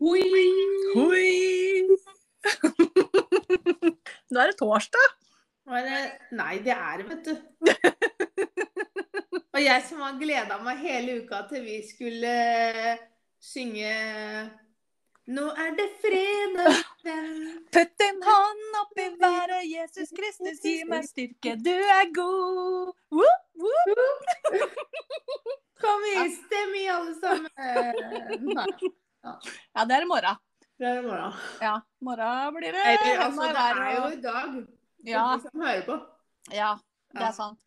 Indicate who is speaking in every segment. Speaker 1: Hoi!
Speaker 2: Hoi! Nå er det torsdag.
Speaker 1: Nå er det- Nei, det er det, vet du. Og jeg som har gleda meg hele uka til vi skulle eh, synge Nå er det fredag, venn.
Speaker 2: Putt en hånd opp i været, Jesus Kristus, gi meg styrke, du er god. Woop, woop.
Speaker 1: Kom igjen, stem i alle sammen. Nei,
Speaker 2: Ja, det er i morgen.
Speaker 1: det er i morgen.
Speaker 2: Ja, morgen blir det.
Speaker 1: Eller,
Speaker 2: Hjemme
Speaker 1: altså,
Speaker 2: i
Speaker 1: det
Speaker 2: været
Speaker 1: er jo
Speaker 2: og-
Speaker 1: i dag.
Speaker 2: ja,
Speaker 1: For de som hører på.
Speaker 2: ja, det
Speaker 1: Ja.
Speaker 2: er sant.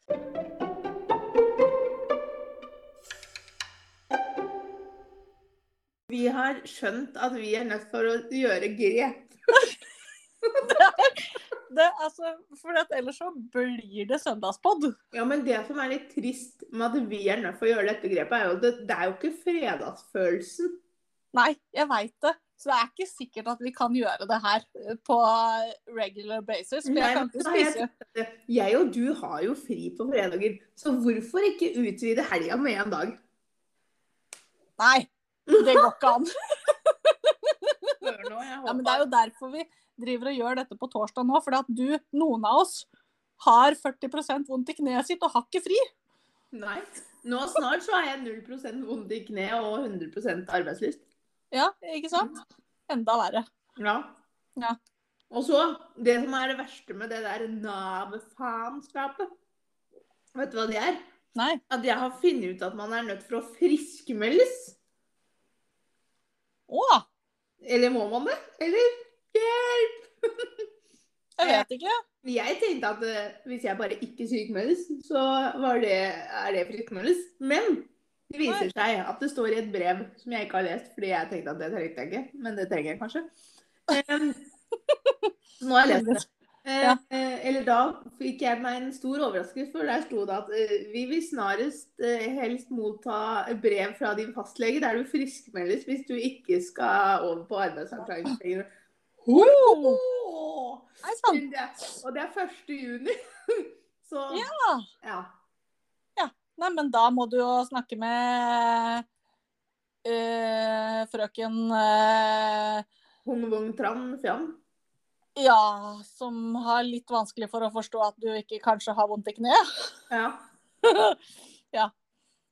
Speaker 1: Vi har skjønt at vi er nødt for å gjøre grep.
Speaker 2: Det, altså, for at ellers så blir det søndagspodd.
Speaker 1: Ja, men det som er litt trist med at vi er nødt for å gjøre dette grepet, er jo at det, det er jo ikke fredagsfølelsen.
Speaker 2: Nei, jeg veit det. Så det er ikke sikkert at vi kan gjøre det her eh, på regular basis. For
Speaker 1: Nei,
Speaker 2: jeg kan
Speaker 1: men
Speaker 2: ikke
Speaker 1: da har jeg
Speaker 2: spise
Speaker 1: Jeg og du har jo fri på fredager, så hvorfor ikke utvide helga med en dag?
Speaker 2: Nei, det går ikke an.
Speaker 1: Hør nå, jeg
Speaker 2: Ja, men Det er jo derfor vi driver og gjør dette på torsdag nå. For at du, noen av oss, har 40 vondt i kneet sitt og har ikke fri.
Speaker 1: Nei. Nå snart så har jeg 0 vondt i kneet og 100 arbeidslyst.
Speaker 2: Ja, ikke sant? Enda verre.
Speaker 1: Ja.
Speaker 2: Ja.
Speaker 1: Og så, det som er det verste med det der Nav-faenskapet, vet du hva det er?
Speaker 2: Nei.
Speaker 1: At jeg har funnet ut at man er nødt for å friskmeldes.
Speaker 2: Å,
Speaker 1: Eller må man det? Eller? Hjelp!
Speaker 2: jeg vet ikke.
Speaker 1: Jeg tenkte at eh, hvis jeg bare ikke sykmeldes, så var det, er det friskmeldes. Men det viser seg at det står i et brev som jeg ikke har lest, fordi jeg tenkte at det trengte jeg ikke. Men det trenger jeg kanskje. Em, Så nå har jeg lest det. Eh,
Speaker 2: Ja.
Speaker 1: eh, Eller da fikk jeg meg en stor overraskelse, for der sto det at eh, vi vil snarest eh, helst motta brev fra din fastlege der du friskmeldes hvis du ikke skal over på arbeidsavklaringspenger.
Speaker 2: Oh,
Speaker 1: Åh!
Speaker 2: nei, sant.
Speaker 1: Men det- Og det er 1. juni. Så
Speaker 2: Ja.
Speaker 1: ja.
Speaker 2: Nei, men da må du jo snakke med eh, frøken eh,
Speaker 1: Hung vung tran fram.
Speaker 2: Ja, som har litt vanskelig for å forstå at du ikke kanskje har vondt i kneet.
Speaker 1: Ja.
Speaker 2: Ja.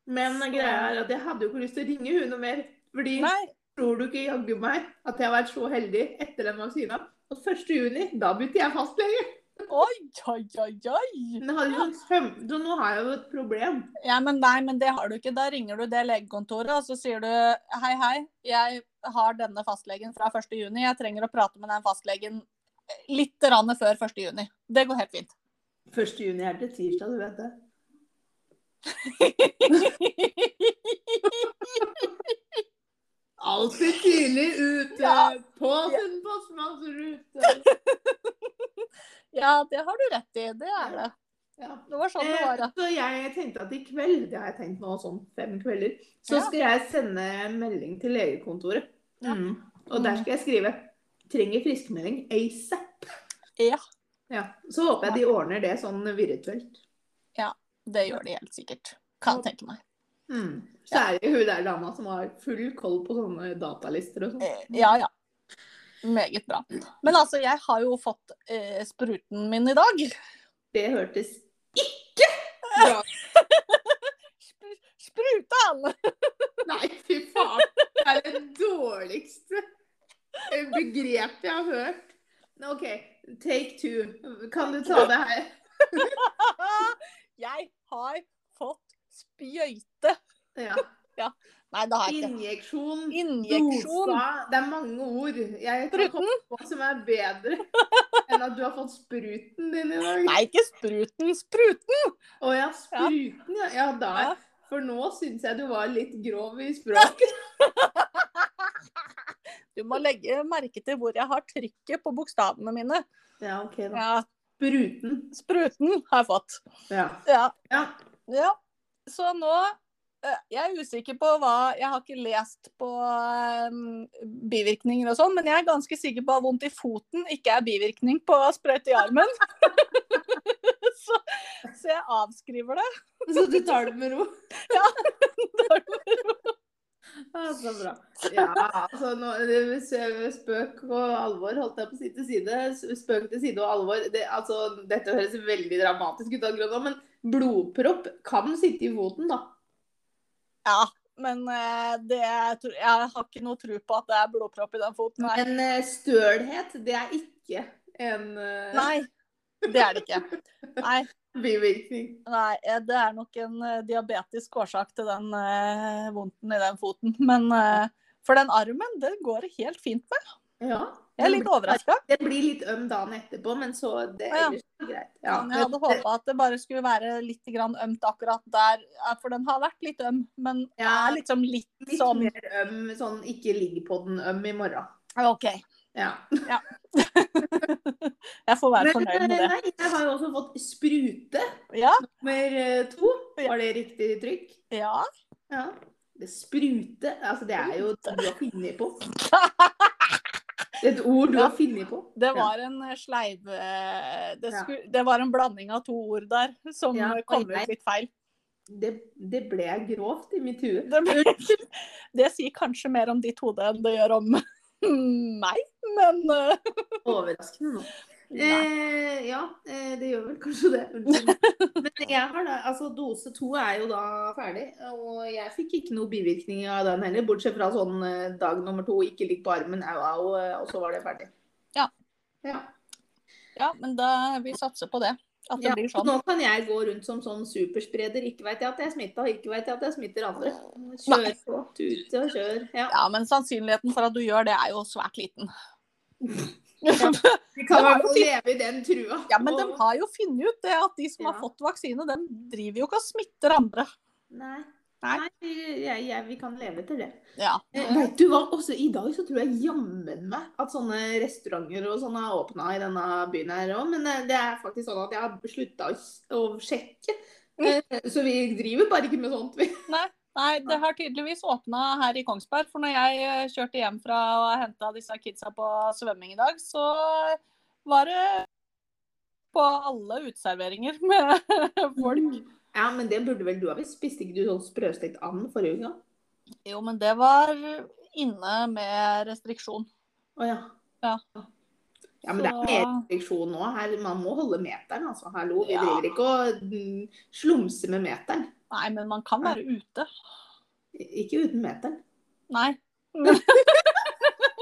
Speaker 1: Men greia er at jeg hadde jo ikke lyst til å ringe hun noe mer. Fordi
Speaker 2: Nei.
Speaker 1: tror du ikke jaggu meg at jeg har vært så heldig etter den vaksina. Og 1. juni, da bytter jeg fastlege.
Speaker 2: Oi, oi, oi, oi.
Speaker 1: Men jeg hadde jo en søm- Så nå har jeg jo et problem.
Speaker 2: Ja, men nei, men det har du ikke. Da ringer du det legekontoret og så sier du hei, hei, jeg har denne fastlegen fra 1. juni. Jeg trenger å prate med den fastlegen litt rann før 1. juni. Det går helt fint.
Speaker 1: 1. juni er til tirsdag, du vet det. Alltid tidlig ute
Speaker 2: Ja.
Speaker 1: på sin postmannsrute.
Speaker 2: ja, det har du rett i. Det er det.
Speaker 1: Ja.
Speaker 2: Det var sånn det
Speaker 1: Eh,
Speaker 2: var, ja.
Speaker 1: Så jeg tenkte at i kveld, det har jeg tenkt nå sånn fem kvelder, så
Speaker 2: Ja.
Speaker 1: skal jeg sende en melding til legekontoret.
Speaker 2: Ja.
Speaker 1: Mm. Og der skal jeg skrive 'trenger friskmelding ASAP'.
Speaker 2: Ja,
Speaker 1: Ja. Så håper jeg de ordner det sånn virtuelt.
Speaker 2: det gjør de helt sikkert. Kan jeg tenke meg.
Speaker 1: Mm. Så er det jo hun der dama som har full koll på sånne datalister og
Speaker 2: Eh,
Speaker 1: sånn.
Speaker 2: Ja, ja. Meget bra. Men altså, jeg har jo fått eh, spruten min i dag.
Speaker 1: Det hørtes ikke bra ut.
Speaker 2: Spr- Spruta, Anne!
Speaker 1: Nei, fy faen. Det er det dårligste begrepet jeg har hørt. Nå, OK, take two. Kan du ta det her?
Speaker 2: Jeg har fått spjøyte.
Speaker 1: Ja.
Speaker 2: Nei, det har jeg ikke.
Speaker 1: Injeksjon.
Speaker 2: Injeksjon.
Speaker 1: Dosa. Det er mange ord. Jeg kan
Speaker 2: Spruten?
Speaker 1: komme på som er bedre enn at du har fått spruten din i dag.
Speaker 2: Nei, ikke spruten. Spruten!
Speaker 1: Å ja, spruten, ja. Ja, da.
Speaker 2: Ja.
Speaker 1: For nå syns jeg du var litt grov i språket.
Speaker 2: Du må legge merke til hvor jeg har trykket på bokstavene mine.
Speaker 1: Ja, OK, da.
Speaker 2: Ja,
Speaker 1: Spruten.
Speaker 2: spruten har jeg fått.
Speaker 1: Ja.
Speaker 2: Ja.
Speaker 1: ja.
Speaker 2: ja. Så nå eh, Jeg er usikker på hva Jeg har ikke lest på eh, bivirkninger og sånn, men jeg er ganske sikker på at vondt i foten ikke er bivirkning på sprøyte i armen. så, så jeg avskriver det.
Speaker 1: Så du tar det med ro?
Speaker 2: Ja, det har du.
Speaker 1: Ja, så bra. Ja, altså nå, hvis jeg- spøk og alvor, holdt jeg på å si til side. Spøk til side og alvor. Det, altså, dette høres veldig dramatisk ut, akkurat nå, men blodpropp kan sitte i foten, da.
Speaker 2: Ja, men eh, det, jeg tror- jeg har ikke noe tro på at det er blodpropp i den foten. Nei.
Speaker 1: Men eh, stølhet, det er ikke en eh,
Speaker 2: nei, det er det ikke. Nei,
Speaker 1: bivirkning.
Speaker 2: nei, eh, det er nok en eh, diabetisk årsak til den eh, vondten i den foten. Men eh, for den armen, det går det helt fint med.
Speaker 1: Ja.
Speaker 2: Jeg er litt
Speaker 1: Mm.
Speaker 2: overraska.
Speaker 1: Det blir litt øm dagen etterpå, men så det,
Speaker 2: Å, ja.
Speaker 1: ellers er det greit. Ja.
Speaker 2: Men jeg hadde håpa at det bare skulle være litt grann ømt akkurat der, eh, for den har vært litt øm. Men
Speaker 1: Ja.
Speaker 2: er liksom litt
Speaker 1: Litt
Speaker 2: sånn
Speaker 1: mer øm, sånn ikke ligg på den øm i morgen.
Speaker 2: OK.
Speaker 1: Ja.
Speaker 2: Jeg får være
Speaker 1: Men
Speaker 2: fornøyd med
Speaker 1: eh,
Speaker 2: det.
Speaker 1: nei, jeg har jo også fått sprute
Speaker 2: Ja,
Speaker 1: nummer eh, to. Var det riktig trykk?
Speaker 2: ja.
Speaker 1: Ja. Det sprute, altså det er jo et ord du har funnet på. Et ord du
Speaker 2: Ja.
Speaker 1: har funnet på.
Speaker 2: Det
Speaker 1: Ja.
Speaker 2: var en eh, sleiv... eh, Det,
Speaker 1: Ja.
Speaker 2: skulle, det var en blanding av to ord der som
Speaker 1: Ja,
Speaker 2: eh,
Speaker 1: og
Speaker 2: kom
Speaker 1: jeg-
Speaker 2: ut litt feil.
Speaker 1: Det, det ble grovt i mitt hue.
Speaker 2: Det, ble- det sier kanskje mer om ditt hode enn det gjør om meg, men eh,
Speaker 1: Overraskende nå.
Speaker 2: nei.
Speaker 1: Eh, ja, eh, det gjør vel kanskje det. Unnskyld. Men jeg har da, altså dose to er jo da ferdig, og jeg fikk ikke noe bivirkninger av den heller. Bortsett fra sånn eh, dag nummer to, ikke ligg på armen, au, au, eh, og så var det ferdig.
Speaker 2: Ja.
Speaker 1: Ja.
Speaker 2: Ja, men da vi satser på det. At det
Speaker 1: Ja,
Speaker 2: blir
Speaker 1: så
Speaker 2: sånn.
Speaker 1: Nå kan jeg gå rundt som sånn superspreder. Ikke veit jeg at jeg er smitta, ikke veit jeg at jeg smitter andre. Kjør på. Tute og kjør. Ja.
Speaker 2: Ja, men sannsynligheten for at du gjør det, er jo svært liten.
Speaker 1: Vi kan i
Speaker 2: men
Speaker 1: hvert fall leve i den trua.
Speaker 2: Ja, men de
Speaker 1: Og-
Speaker 2: har jo funnet ut det at de som har
Speaker 1: Ja.
Speaker 2: fått vaksine, de driver jo ikke og smitter andre.
Speaker 1: Nei.
Speaker 2: Nei.
Speaker 1: Nei, jeg, jeg, vi kan leve etter det.
Speaker 2: Ja.
Speaker 1: Eh, Vet du hva, også i dag så tror jeg jammen meg at sånne restauranter og sånn har åpna i denne byen her òg. Men eh, det er faktisk sånn at jeg har slutta å, s- å sjekke.
Speaker 2: Mm.
Speaker 1: Eh, Så vi driver bare ikke med sånt, vi.
Speaker 2: Nei, det har tydeligvis åpna her i Kongsberg. For når jeg eh, kjørte hjem fra å ha henta disse kidsa på svømming i dag, så var det på alle uteserveringer med folk.
Speaker 1: Ja, men det burde vel du ha visst. Spiste ikke du sånn sprøstekt and forrige uke? da?
Speaker 2: Jo, men det var inne med restriksjon.
Speaker 1: Å ja.
Speaker 2: Ja.
Speaker 1: Ja, men det
Speaker 2: Så-
Speaker 1: er mer restriksjon nå. Her, man må holde meteren, altså. Hallo, vi
Speaker 2: Ja.
Speaker 1: driver ikke og mm, slumser med meteren.
Speaker 2: Nei, men man kan være ute.
Speaker 1: Ikke uten meteren.
Speaker 2: Nei.
Speaker 1: Mm.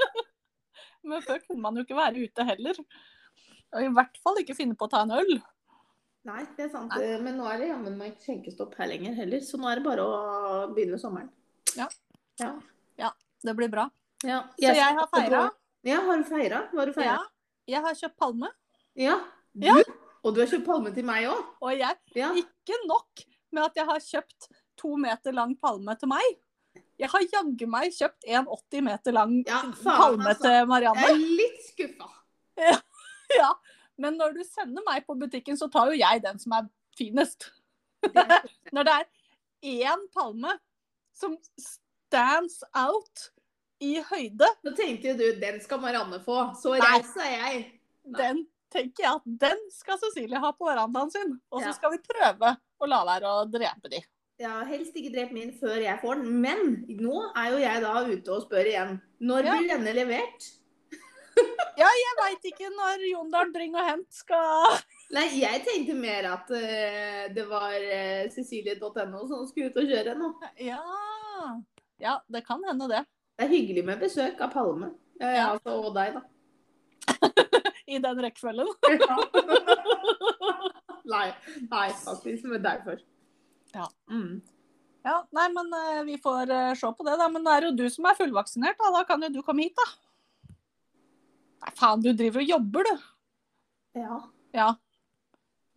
Speaker 2: Men før kunne man jo ikke være ute heller. Og i hvert fall ikke finne på å ta en øl.
Speaker 1: Nei, det er sant. Eh, Men nå er det jammen meg ikke skjenkestopp her lenger heller, så nå er det bare å begynne sommeren.
Speaker 2: Ja.
Speaker 1: Ja.
Speaker 2: Det blir bra.
Speaker 1: ja.
Speaker 2: Så jeg har feira.
Speaker 1: Ja, har du feira? Var du
Speaker 2: Ja.
Speaker 1: feira?
Speaker 2: Jeg har kjøpt palme.
Speaker 1: Ja. Du?
Speaker 2: Ja.
Speaker 1: Og du har kjøpt palme til meg òg?
Speaker 2: Og jeg
Speaker 1: Ja.
Speaker 2: Ikke nok med at jeg har kjøpt to meter lang palme til meg. Jeg har jaggu meg kjøpt en 80 meter lang
Speaker 1: Ja, faen,
Speaker 2: palme
Speaker 1: altså.
Speaker 2: til Marianne.
Speaker 1: Jeg er litt skuffa.
Speaker 2: Ja. Men når du sender meg på butikken, så tar jo jeg den som er finest.
Speaker 1: Det-
Speaker 2: Når det er én palme som stands out i høyde,
Speaker 1: Nå tenkte jo du den skal Marianne få, så
Speaker 2: Nei.
Speaker 1: reiser jeg. Nei.
Speaker 2: den tenker jeg at den skal Cecilie ha på verandaen sin. Og
Speaker 1: Ja.
Speaker 2: så skal vi prøve å la være å drepe de.
Speaker 1: Ja, helst ikke drep min før jeg får den. Men nå er jo jeg da ute og spør igjen. Når
Speaker 2: Ja.
Speaker 1: blir denne levert?
Speaker 2: Jeg veit ikke når Jondalen Bring og Hent skal
Speaker 1: Nei, jeg tenkte mer at eh, det var eh, cecilie.no som skulle ut og kjøre nå.
Speaker 2: Ja. ja, det kan hende det.
Speaker 1: Det er hyggelig med besøk av Palme. Eh,
Speaker 2: Ja.
Speaker 1: altså, og deg, da.
Speaker 2: I den rekkefølgen.
Speaker 1: nei, nei, faktisk med deg først.
Speaker 2: Ja.
Speaker 1: Mm.
Speaker 2: Ja, nei, men eh, vi får eh, se på det, da. Men da er det jo du som er fullvaksinert, da. Da kan jo du komme hit, da. Nei, faen, du driver og jobber, du.
Speaker 1: ja.
Speaker 2: Ja.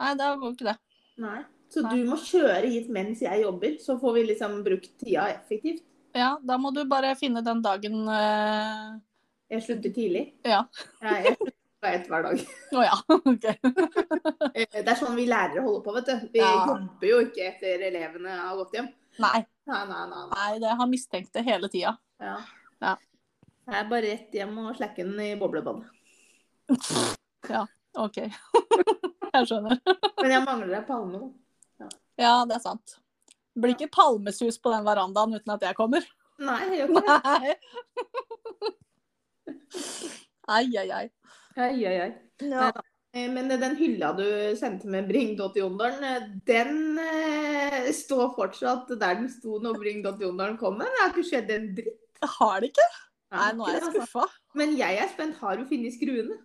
Speaker 2: Nei, det går ikke det.
Speaker 1: Nei. Så
Speaker 2: Nei.
Speaker 1: du må kjøre hit mens jeg jobber, så får vi liksom brukt tida effektivt.
Speaker 2: Ja, da må du bare finne den dagen eh,
Speaker 1: Jeg slutter tidlig.
Speaker 2: Ja.
Speaker 1: Jeg, jeg slutter ett hver dag.
Speaker 2: Å ja, OK.
Speaker 1: Eh, Det er sånn vi lærere holder på, vet du. Vi
Speaker 2: Ja.
Speaker 1: jobber jo ikke etter elevene har gått hjem.
Speaker 2: Nei,
Speaker 1: Nei, nei, nei. nei.
Speaker 2: nei, det har mistenkt det hele tida.
Speaker 1: Ja.
Speaker 2: Ja.
Speaker 1: Jeg er bare rett hjem og slakke den i boblebadet.
Speaker 2: OK. Jeg skjønner.
Speaker 1: Men jeg mangler ei palme. da.
Speaker 2: Ja, det er sant. Blir ikke palmesus på den verandaen uten at jeg kommer.
Speaker 1: Nei, jeg gjør ikke det.
Speaker 2: Nei. Ai, ai, ai.
Speaker 1: Ai, ai, ai.
Speaker 2: Ja.
Speaker 1: Eh, Men eh, den hylla du sendte med Bring.Jondalen, den eh, står fortsatt der den sto når Bring.Jondalen kom. men Det har ikke skjedd en dritt.
Speaker 2: Har det ikke?
Speaker 1: Det
Speaker 2: Nei,
Speaker 1: har
Speaker 2: nå
Speaker 1: ikke
Speaker 2: er jeg
Speaker 1: det, altså.
Speaker 2: skuffa.
Speaker 1: Men jeg er spent. Har du funnet skruene?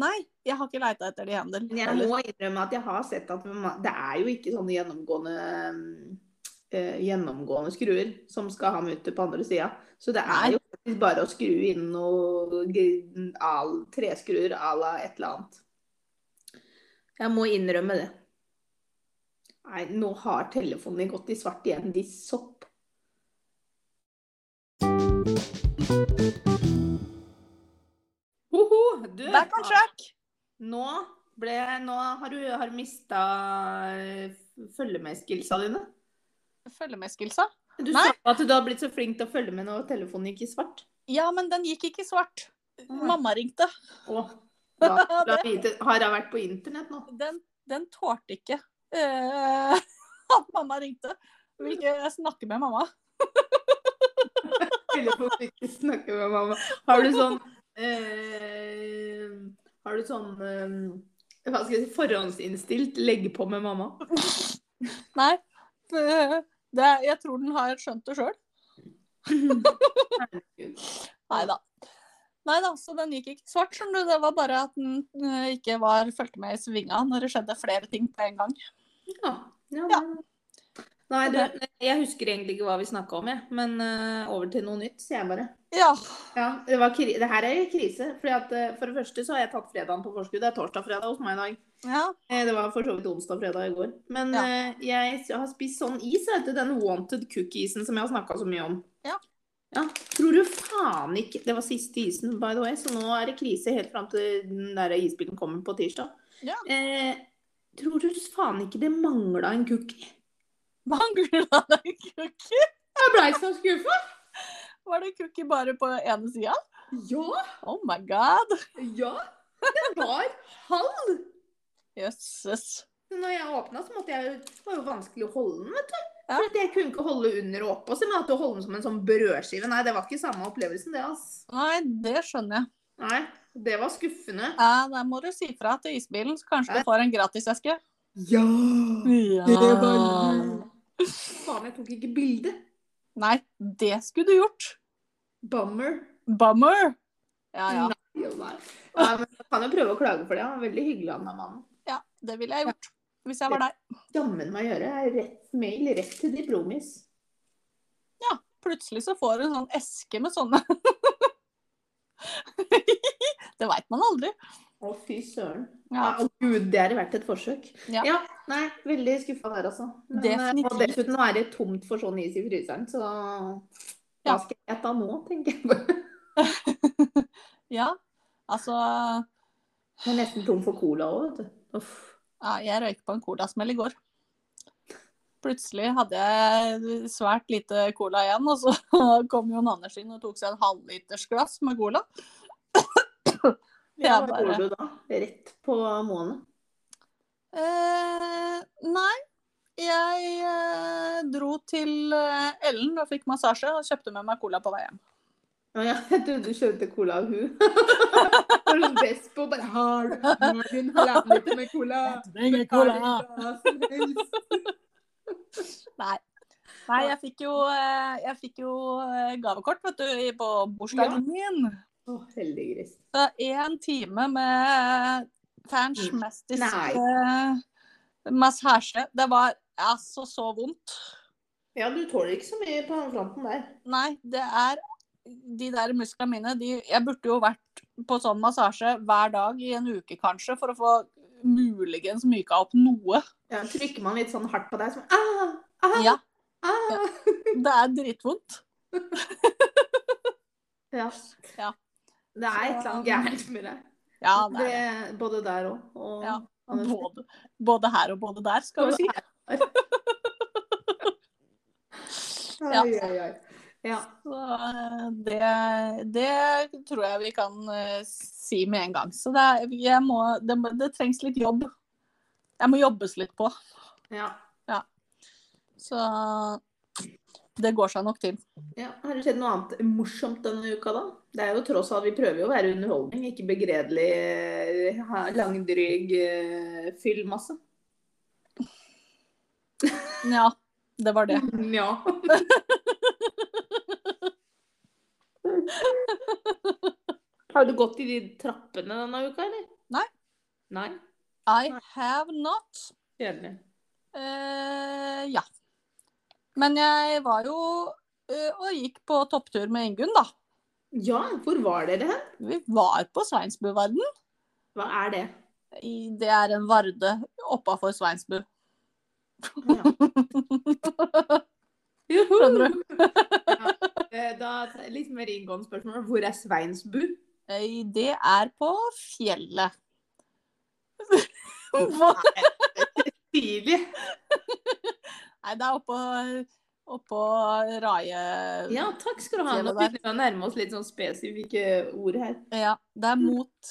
Speaker 2: Nei, jeg har ikke leita etter de hendel.
Speaker 1: Men jeg må innrømme at jeg har sett at det er jo ikke sånne gjennomgående eh, gjennomgående skruer som skal ha mutter på andre sida. Så det
Speaker 2: Nei.
Speaker 1: er jo faktisk bare å skru inn noen gr- al- treskruer à la et eller annet. Jeg må innrømme det. Nei, nå har telefonen min gått i svart igjen. De sopp. Hoho, du,
Speaker 2: Back on track!
Speaker 1: nå, ble, nå har du, har du mista følgemedskillsa dine.
Speaker 2: Følg med, Skilsa.
Speaker 1: Du
Speaker 2: Nei.
Speaker 1: sa at du har blitt så flink til å følge med når telefonen gikk i svart.
Speaker 2: Ja, men den gikk ikke i svart.
Speaker 1: Nei.
Speaker 2: Mamma ringte.
Speaker 1: Å, da, da, vite- har jeg vært på internett nå?
Speaker 2: Den, den tålte ikke eh, at mamma ringte. Vil ikke snakke med mamma.
Speaker 1: Eller på ikke snakke med mamma. Har du sånn eh, Har du sånn eh, hva skal jeg si, forhåndsinnstilt legge på med mamma?
Speaker 2: Nei. Det, det- jeg tror den har skjønt det sjøl.
Speaker 1: Herregud.
Speaker 2: Nei da. Nei da, så den gikk ikke svart, skjønner du. Det var bare at den eh, ikke var, fulgte med i svinga når det skjedde flere ting på en gang.
Speaker 1: Ja. ja, Nei, du, jeg husker egentlig ikke hva vi snakka om, jeg. Men eh, over til noe nytt, sier jeg bare.
Speaker 2: Ja.
Speaker 1: Ja, det, var kri det her er krise. Fordi at, eh, for det første så har jeg tatt fredagen på forskudd. Det er torsdag-fredag hos meg i dag.
Speaker 2: ja.
Speaker 1: Eh, Det var for så vidt onsdag-fredag i går. Men
Speaker 2: Ja.
Speaker 1: eh, jeg s- har spist sånn is, vet du. Den wanted cookie-isen som jeg har snakka så mye om.
Speaker 2: Ja.
Speaker 1: Ja, Tror du faen ikke Det var siste isen, by the way, så nå er det krise helt fram til den der isbilen kommer på tirsdag.
Speaker 2: Ja.
Speaker 1: Eh, tror du faen ikke det mangla en cookie?
Speaker 2: Mangla det cookie?
Speaker 1: Jeg blei så skuffa!
Speaker 2: Var det cookie bare på ene sida?
Speaker 1: Ja,
Speaker 2: Oh my god.
Speaker 1: ja. Den var halv.
Speaker 2: Jøsses.
Speaker 1: Når jeg åpna, så måtte jeg, det var jo vanskelig å holde den. vet du.
Speaker 2: Ja.
Speaker 1: For at Jeg kunne ikke holde under og oppå, så jeg måtte holde den som en sånn brødskive. Nei, det var ikke samme opplevelsen, det. altså.
Speaker 2: Nei, det skjønner jeg.
Speaker 1: Nei, Det var skuffende.
Speaker 2: Ja, der må du si fra til isbilen, så kanskje du får en gratiseske.
Speaker 1: Ja!
Speaker 2: Ja. Ah.
Speaker 1: Faen, jeg tok ikke bilde.
Speaker 2: Nei, det skulle du gjort.
Speaker 1: Bummer.
Speaker 2: Bummer. Ja, ja.
Speaker 1: Nei, jo, nei. Nei, men jeg kan jo prøve å klage for det. Han var veldig hyggelig, han der mannen.
Speaker 2: ja det ville jeg gjort. Hvis jeg var deg.
Speaker 1: Jammen meg gjøre. Jeg er Rett mail, rett til diplomis.
Speaker 2: Plutselig så får du en sånn eske med sånne. det veit man aldri.
Speaker 1: Å, fy søren.
Speaker 2: Ja.
Speaker 1: Ja, å Gud, det er verdt et forsøk.
Speaker 2: Ja.
Speaker 1: nei, veldig skuffa der, altså. Men,
Speaker 2: Definitivt.
Speaker 1: eh, Og dessuten nå er det tomt for sånn is i fryseren, så hva
Speaker 2: Ja.
Speaker 1: skal jeg ta nå, tenker jeg bare.
Speaker 2: ja. Altså
Speaker 1: Jeg er nesten tom for cola òg, vet du. Uff.
Speaker 2: ja, Jeg røyk på en colasmell i går. Plutselig hadde jeg svært lite cola igjen, og så kom Jon Anders inn og tok seg en halvliters glass med cola.
Speaker 1: Ja,
Speaker 2: Jeg
Speaker 1: hva
Speaker 2: bare-
Speaker 1: gjorde du da? Rett på månen.
Speaker 2: Eh, nei. Jeg eh, dro til eh, Ellen og fikk massasje og kjøpte med meg cola på vei hjem.
Speaker 1: Å ja, jeg trodde du kjøpte cola av hun. Var hun best på bare Har du har du en halvannen liter med cola?
Speaker 2: Trenger
Speaker 1: Har du hva som helst?
Speaker 2: Nei, jeg fikk jo, eh, jeg fikk jo eh, gavekort vet du, i- på bursdagen min.
Speaker 1: Å, heldig gris.
Speaker 2: Så én time med fantastisk
Speaker 1: Nei.
Speaker 2: eh, massasje. Det var altså så vondt.
Speaker 1: Ja, du tåler ikke så mye på den fronten der.
Speaker 2: Nei, det er de der musklene mine de, Jeg burde jo vært på sånn massasje hver dag i en uke, kanskje, for å få muligens myka opp noe.
Speaker 1: Ja, trykker man litt sånn hardt på deg, så ah, ah,
Speaker 2: Ja,
Speaker 1: ah.
Speaker 2: det er dritvondt.
Speaker 1: Ja.
Speaker 2: Ja.
Speaker 1: Det er et eller annet gærent med det.
Speaker 2: Ja, det er det.
Speaker 1: Det- Både der òg. Og
Speaker 2: Ja.
Speaker 1: Anders.
Speaker 2: Både, både her og både der, skal vi si. Ja.
Speaker 1: Ai, ai, ai. ja.
Speaker 2: Så eh, det, det tror jeg vi kan eh, si med en gang. Så det, er, jeg må, det, må- det trengs litt jobb. Jeg må jobbes litt på.
Speaker 1: ja.
Speaker 2: Så Det går seg nok til.
Speaker 1: Ja, Har det skjedd noe annet morsomt denne uka, da? Det er jo tross alt, Vi prøver jo å være underholdning, ikke begredelig, eh, ha langdryg eh, fyllmasse.
Speaker 2: Ja, det var det.
Speaker 1: Nja. Har du gått i de trappene denne uka, eller?
Speaker 2: Nei.
Speaker 1: Nei?
Speaker 2: I have not.
Speaker 1: Kjedelig.
Speaker 2: Eh, ja. Men jeg var jo eh, og gikk på topptur med Ingunn, da.
Speaker 1: Ja, hvor var dere hen?
Speaker 2: Vi var på Sveinsbuvarden.
Speaker 1: Hva er det?
Speaker 2: I- Det er en varde oppafor Sveinsbu.
Speaker 1: Ja. Juhu!
Speaker 2: Skjønner du?
Speaker 1: Eh, Da litt mer inngående spørsmål. Hvor er Sveinsbu?
Speaker 2: Eh, Det er på fjellet. Hvor
Speaker 1: Tidlig.
Speaker 2: Nei, det er oppå, oppå Raje...
Speaker 1: Ja, takk skal du ha. Nå
Speaker 2: Fjellet
Speaker 1: begynner vi å nærme oss litt sånn spesifikke ord her.
Speaker 2: Ja, det er mot,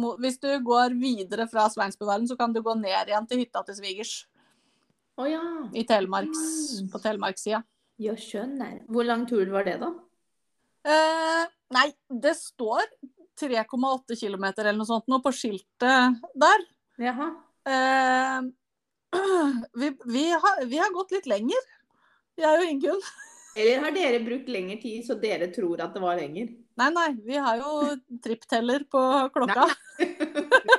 Speaker 2: mot Hvis du går videre fra Sveinsbuvarden, så kan du gå ned igjen til hytta til svigers
Speaker 1: Å ja.
Speaker 2: i Telemarks,
Speaker 1: Mm.
Speaker 2: på Telemarkssida.
Speaker 1: Ja, skjønner. Hvor lang turen var det, da?
Speaker 2: Eh, nei, det står 3,8 km eller noe sånt nå på skiltet der.
Speaker 1: Jaha.
Speaker 2: Eh, vi, vi, har, vi har gått litt lenger, jeg og Ingunn.
Speaker 1: Eller har dere brukt lengre tid, så dere tror at det var lenger?
Speaker 2: Nei, nei, vi har jo trippteller på klokka.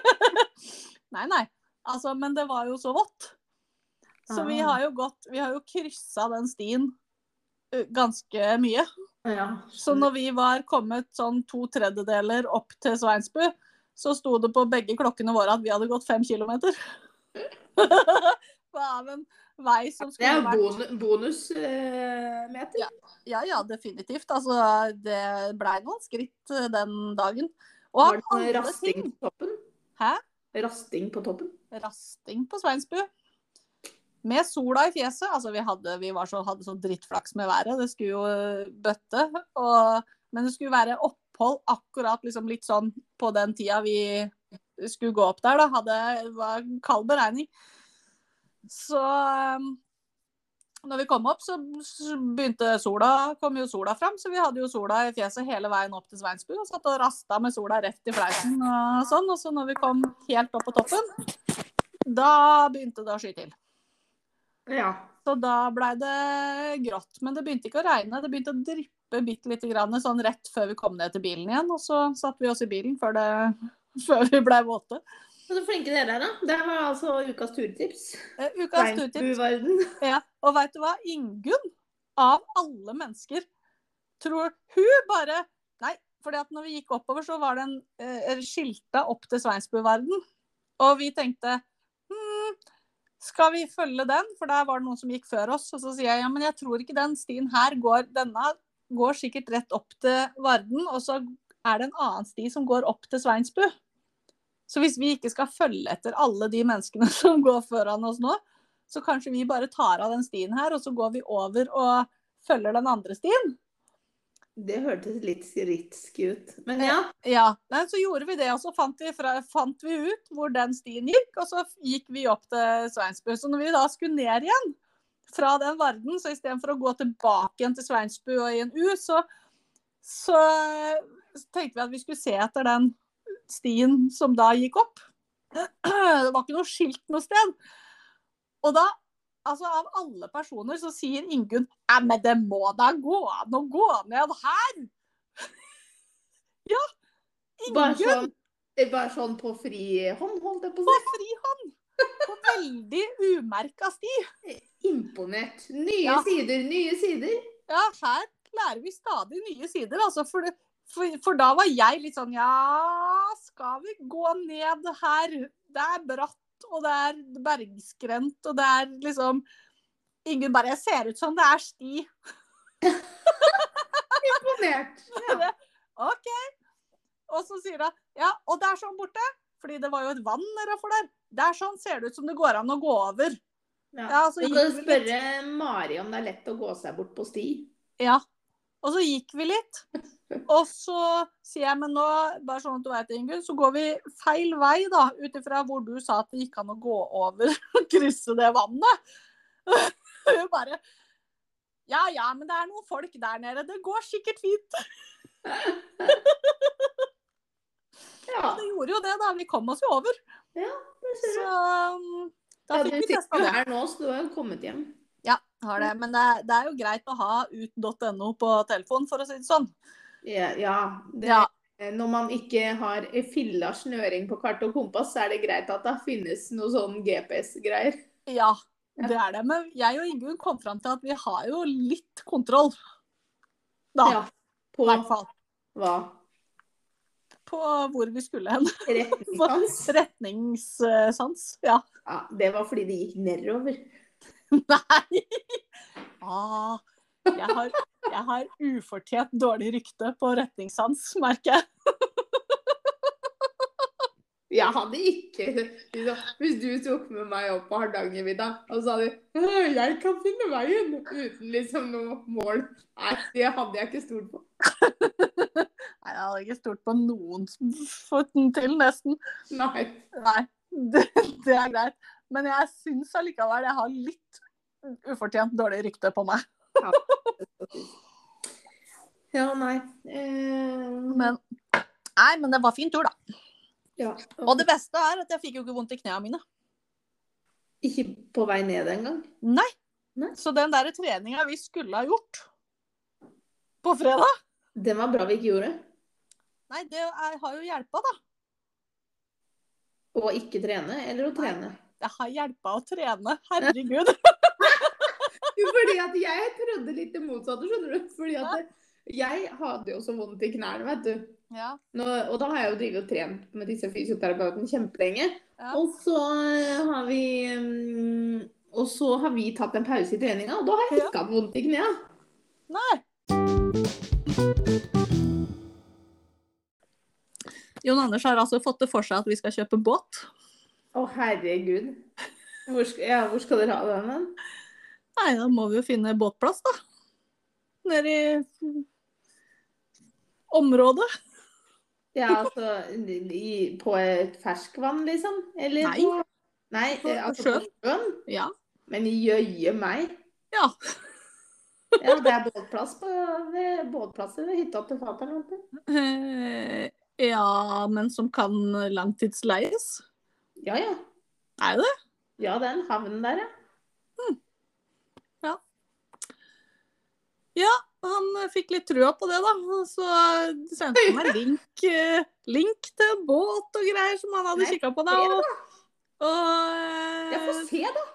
Speaker 2: Nei, nei. Altså, men det var jo så vått. Så vi
Speaker 1: Ah.
Speaker 2: har jo gått Vi har jo kryssa den stien ø, ganske mye.
Speaker 1: Ja.
Speaker 2: Så når vi var kommet sånn to tredjedeler opp til Sveinsbu, så sto det på begge klokkene våre at vi hadde gått fem kilometer. Det er en vei som
Speaker 1: Det
Speaker 2: skulle
Speaker 1: er
Speaker 2: vært
Speaker 1: bonusmeter. Bonus, eh, meter.
Speaker 2: Ja, ja, definitivt. Altså, det blei noen skritt ø, den dagen. Og
Speaker 1: var
Speaker 2: av
Speaker 1: det sånn
Speaker 2: alle
Speaker 1: rasting
Speaker 2: ting
Speaker 1: på toppen?
Speaker 2: Hæ?
Speaker 1: Rasting på toppen?
Speaker 2: rasting på Sveinsbu. Med sola i fjeset. Altså, vi hadde, vi var så, hadde så drittflaks med været. Det skulle jo eh, bøtte. Og, men det skulle være opphold akkurat liksom litt sånn på den tida vi skulle gå opp der, da. Hadde, det var kald beregning. Så um, når vi kom opp, så s- begynte sola, kom jo sola fram. Så vi hadde jo sola i fjeset hele veien opp til Sveinsbu. Og satt og rasta med sola rett i fleisen og sånn. Og så når vi kom helt opp på toppen, da begynte det å sky til.
Speaker 1: Ja.
Speaker 2: Så da blei det grått. Men det begynte ikke å regne. Det begynte å dryppe bitte lite grann sånn rett før vi kom ned til bilen igjen. Og så satt vi oss i bilen før, det, før vi blei våte.
Speaker 1: Så flinke dere er, da. Det var altså ukas turtips.
Speaker 2: Eh, ukas turtips.
Speaker 1: Verden.
Speaker 2: Ja. Og veit du hva? Ingunn, av alle mennesker, tror hun bare Nei, fordi at når vi gikk oppover, så var det en eh, skilta opp til Sveinsbuvarden. Og vi tenkte hmm, skal vi følge den? For der var det noen som gikk før oss. Og så sier jeg ja, men jeg tror ikke den stien her går Denne går sikkert rett opp til Varden, og så er det en annen sti som går opp til Sveinsbu. Så hvis vi ikke skal følge etter alle de menneskene som går foran oss nå, så kanskje vi bare tar av den stien her, og så går vi over og følger den andre stien.
Speaker 1: Det hørtes litt ritsk ut. Men ja.
Speaker 2: Ja, Nei, Så gjorde vi det, og så fant vi, fra, fant vi ut hvor den stien gikk, og så gikk vi opp til Sveinsbu. Så når vi da skulle ned igjen fra den varden, så istedenfor å gå tilbake igjen til Sveinsbu og i en U, så, så tenkte vi at vi skulle se etter den stien som da gikk opp. Det var ikke noe skilt noe sted. Og da, altså av alle personer, så sier Ingunn Nei, men det må da gå an å gå ned her! ja!
Speaker 1: Bare
Speaker 2: Ingunn
Speaker 1: sånn, bare sånn på frihånd, holdt jeg på å
Speaker 2: på fri hånd! På veldig umerka sti.
Speaker 1: si. Imponert. Nye
Speaker 2: Ja.
Speaker 1: sider, nye sider.
Speaker 2: Ja, her lærer vi stadig nye sider, altså. For, det- for, for da var jeg litt sånn Ja, skal vi gå ned her? Det er bratt, og det er bergskrent, og det er liksom Ingen bare Jeg ser ut som det er sti.
Speaker 1: Imponert. Ja.
Speaker 2: OK. Og så sier hun Ja, og det er sånn borte. Fordi det var jo et vann nedafor der. Det er sånn ser det ut som det går an å gå over. Ja, så
Speaker 1: Du
Speaker 2: gikk
Speaker 1: kan
Speaker 2: vi litt.
Speaker 1: spørre Mari om det er lett å gå seg bort på sti.
Speaker 2: Ja. Og så gikk vi litt. Og så sier jeg, men nå, bare sånn at du vet, Ingunn, så går vi feil vei, da. Ut ifra hvor du sa at det gikk an å gå over og krysse det vannet. Hun bare Ja ja, men det er noen folk der nede. Det går sikkert fint.
Speaker 1: Ja,
Speaker 2: Det gjorde jo det, da. Vi kom oss jo over.
Speaker 1: det ser
Speaker 2: Så
Speaker 1: du.
Speaker 2: um, da
Speaker 1: Ja, du
Speaker 2: fikk vi
Speaker 1: sitter
Speaker 2: testa
Speaker 1: jo
Speaker 2: det.
Speaker 1: her nå, så du har jo kommet hjem.
Speaker 2: Ja, har det. Men det er, det er jo greit å ha ut.no på telefonen, for å si det sånn.
Speaker 1: Ja, ja, det, eh,
Speaker 2: Ja.
Speaker 1: Når man ikke har filla snøring på kart og kompass, så er det greit at det finnes noe sånn GPS-greier.
Speaker 2: Ja, det er det. Men jeg og Ingunn kom fram til at vi har jo litt kontroll. Da,
Speaker 1: Ja,
Speaker 2: i
Speaker 1: På
Speaker 2: hvert fall.
Speaker 1: hva?
Speaker 2: På hvor vi skulle hen.
Speaker 1: Retningssans?
Speaker 2: Retningssans. Ja.
Speaker 1: Ja, det var fordi det gikk nedover.
Speaker 2: Nei! Ah, jeg, har, jeg har ufortjent dårlig rykte på retningssans, merker jeg.
Speaker 1: Jeg hadde ikke Hvis du tok med meg opp på Hardangervidda, og så hadde du «Å, 'Jeg kan finne veien' uten liksom noe mål Nei, det hadde jeg ikke stolt på.
Speaker 2: Nei, jeg hadde ikke stolt på noen som fått den til, nesten.
Speaker 1: Nei.
Speaker 2: Nei, det, det er greit. Men jeg syns allikevel jeg har litt ufortjent dårlig rykte på meg.
Speaker 1: Ja, nei. Eh,
Speaker 2: Men, nei, men det var fin tur, da.
Speaker 1: ja.
Speaker 2: Og det beste er at jeg fikk jo ikke vondt i knærne mine.
Speaker 1: Ikke på vei ned engang.
Speaker 2: Nei.
Speaker 1: Nei.
Speaker 2: Så den der treninga vi skulle ha gjort på fredag,
Speaker 1: Den var bra vi ikke gjorde.
Speaker 2: nei, det er, har jo hjelpa, da.
Speaker 1: Å ikke trene, eller å trene.
Speaker 2: Det har hjelpa å trene. Herregud.
Speaker 1: Jo, fordi at jeg trodde litt det motsatte, skjønner du. Fordi at jeg hadde jo så vondt i knærne, vet du.
Speaker 2: Ja.
Speaker 1: Nå, og da har jeg jo drevet og trent med disse fysioterapeutene kjempelenge.
Speaker 2: Ja.
Speaker 1: Og så eh, har vi mm, Og så har vi tatt en pause i treninga, og da har jeg
Speaker 2: Ja.
Speaker 1: ikke hatt vondt i knærne.
Speaker 2: Nei. Jon Anders har altså fått det for seg at vi skal kjøpe båt.
Speaker 1: Å, herregud. Hvor skal, ja, hvor skal dere ha den? hen?
Speaker 2: Nei, da må vi jo finne båtplass, da. Nede i området.
Speaker 1: Ja, altså i, På et ferskvann, liksom? Eller
Speaker 2: Nei.
Speaker 1: på Nei,
Speaker 2: På-
Speaker 1: eh,
Speaker 2: på
Speaker 1: altså på
Speaker 2: sjøen.
Speaker 1: sjøen?
Speaker 2: Ja.
Speaker 1: Men jøye meg.
Speaker 2: Ja.
Speaker 1: Ja, det er båtplass på ved båtplasser ved hytta til fatter'n. vet du.
Speaker 2: Eh, Ja, men som kan langtidsleies.
Speaker 1: Ja, ja.
Speaker 2: Er det det?
Speaker 1: Ja, det er en havn der, ja.
Speaker 2: Han eh, fikk litt trua på det, da. og Så sendte han meg link, eh, link til båt og greier som han hadde
Speaker 1: Nei,
Speaker 2: kikka på, da. Og, og
Speaker 1: Jeg får
Speaker 2: eh,
Speaker 1: se, da.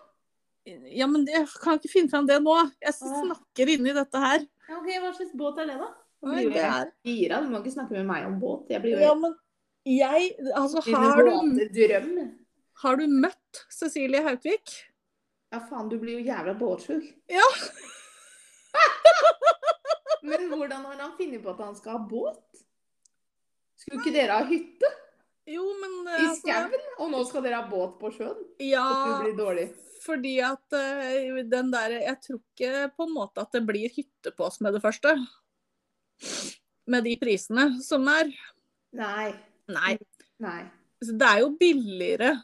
Speaker 2: Ja, men jeg kan ikke finne fram det nå. Jeg snakker inni dette her.
Speaker 1: Ja, ok, Hva slags båt er det, da? Da
Speaker 2: Nei,
Speaker 1: blir jo
Speaker 2: det
Speaker 1: jeg
Speaker 2: er-
Speaker 1: gira. Du må ikke snakke med meg om båt. Jeg blir jo
Speaker 2: Ja, men jeg Altså,
Speaker 1: Dine
Speaker 2: har du,
Speaker 1: våte drøm.
Speaker 2: har du møtt Cecilie Haukvik?
Speaker 1: Ja, faen, du blir jo jævla båtsjuk.
Speaker 2: Ja.
Speaker 1: Men hvordan har han funnet på at han skal ha båt? Skulle ikke dere ha hytte
Speaker 2: Jo, men eh,
Speaker 1: i
Speaker 2: altså,
Speaker 1: skauen, og nå skal dere ha båt på sjøen? Du
Speaker 2: Ja,
Speaker 1: blir dårlig.
Speaker 2: fordi at eh, den der Jeg tror ikke på en måte at det blir hytte på oss med det første. Med de prisene som er.
Speaker 1: Nei.
Speaker 2: Nei.
Speaker 1: Nei.
Speaker 2: Så det er jo billigere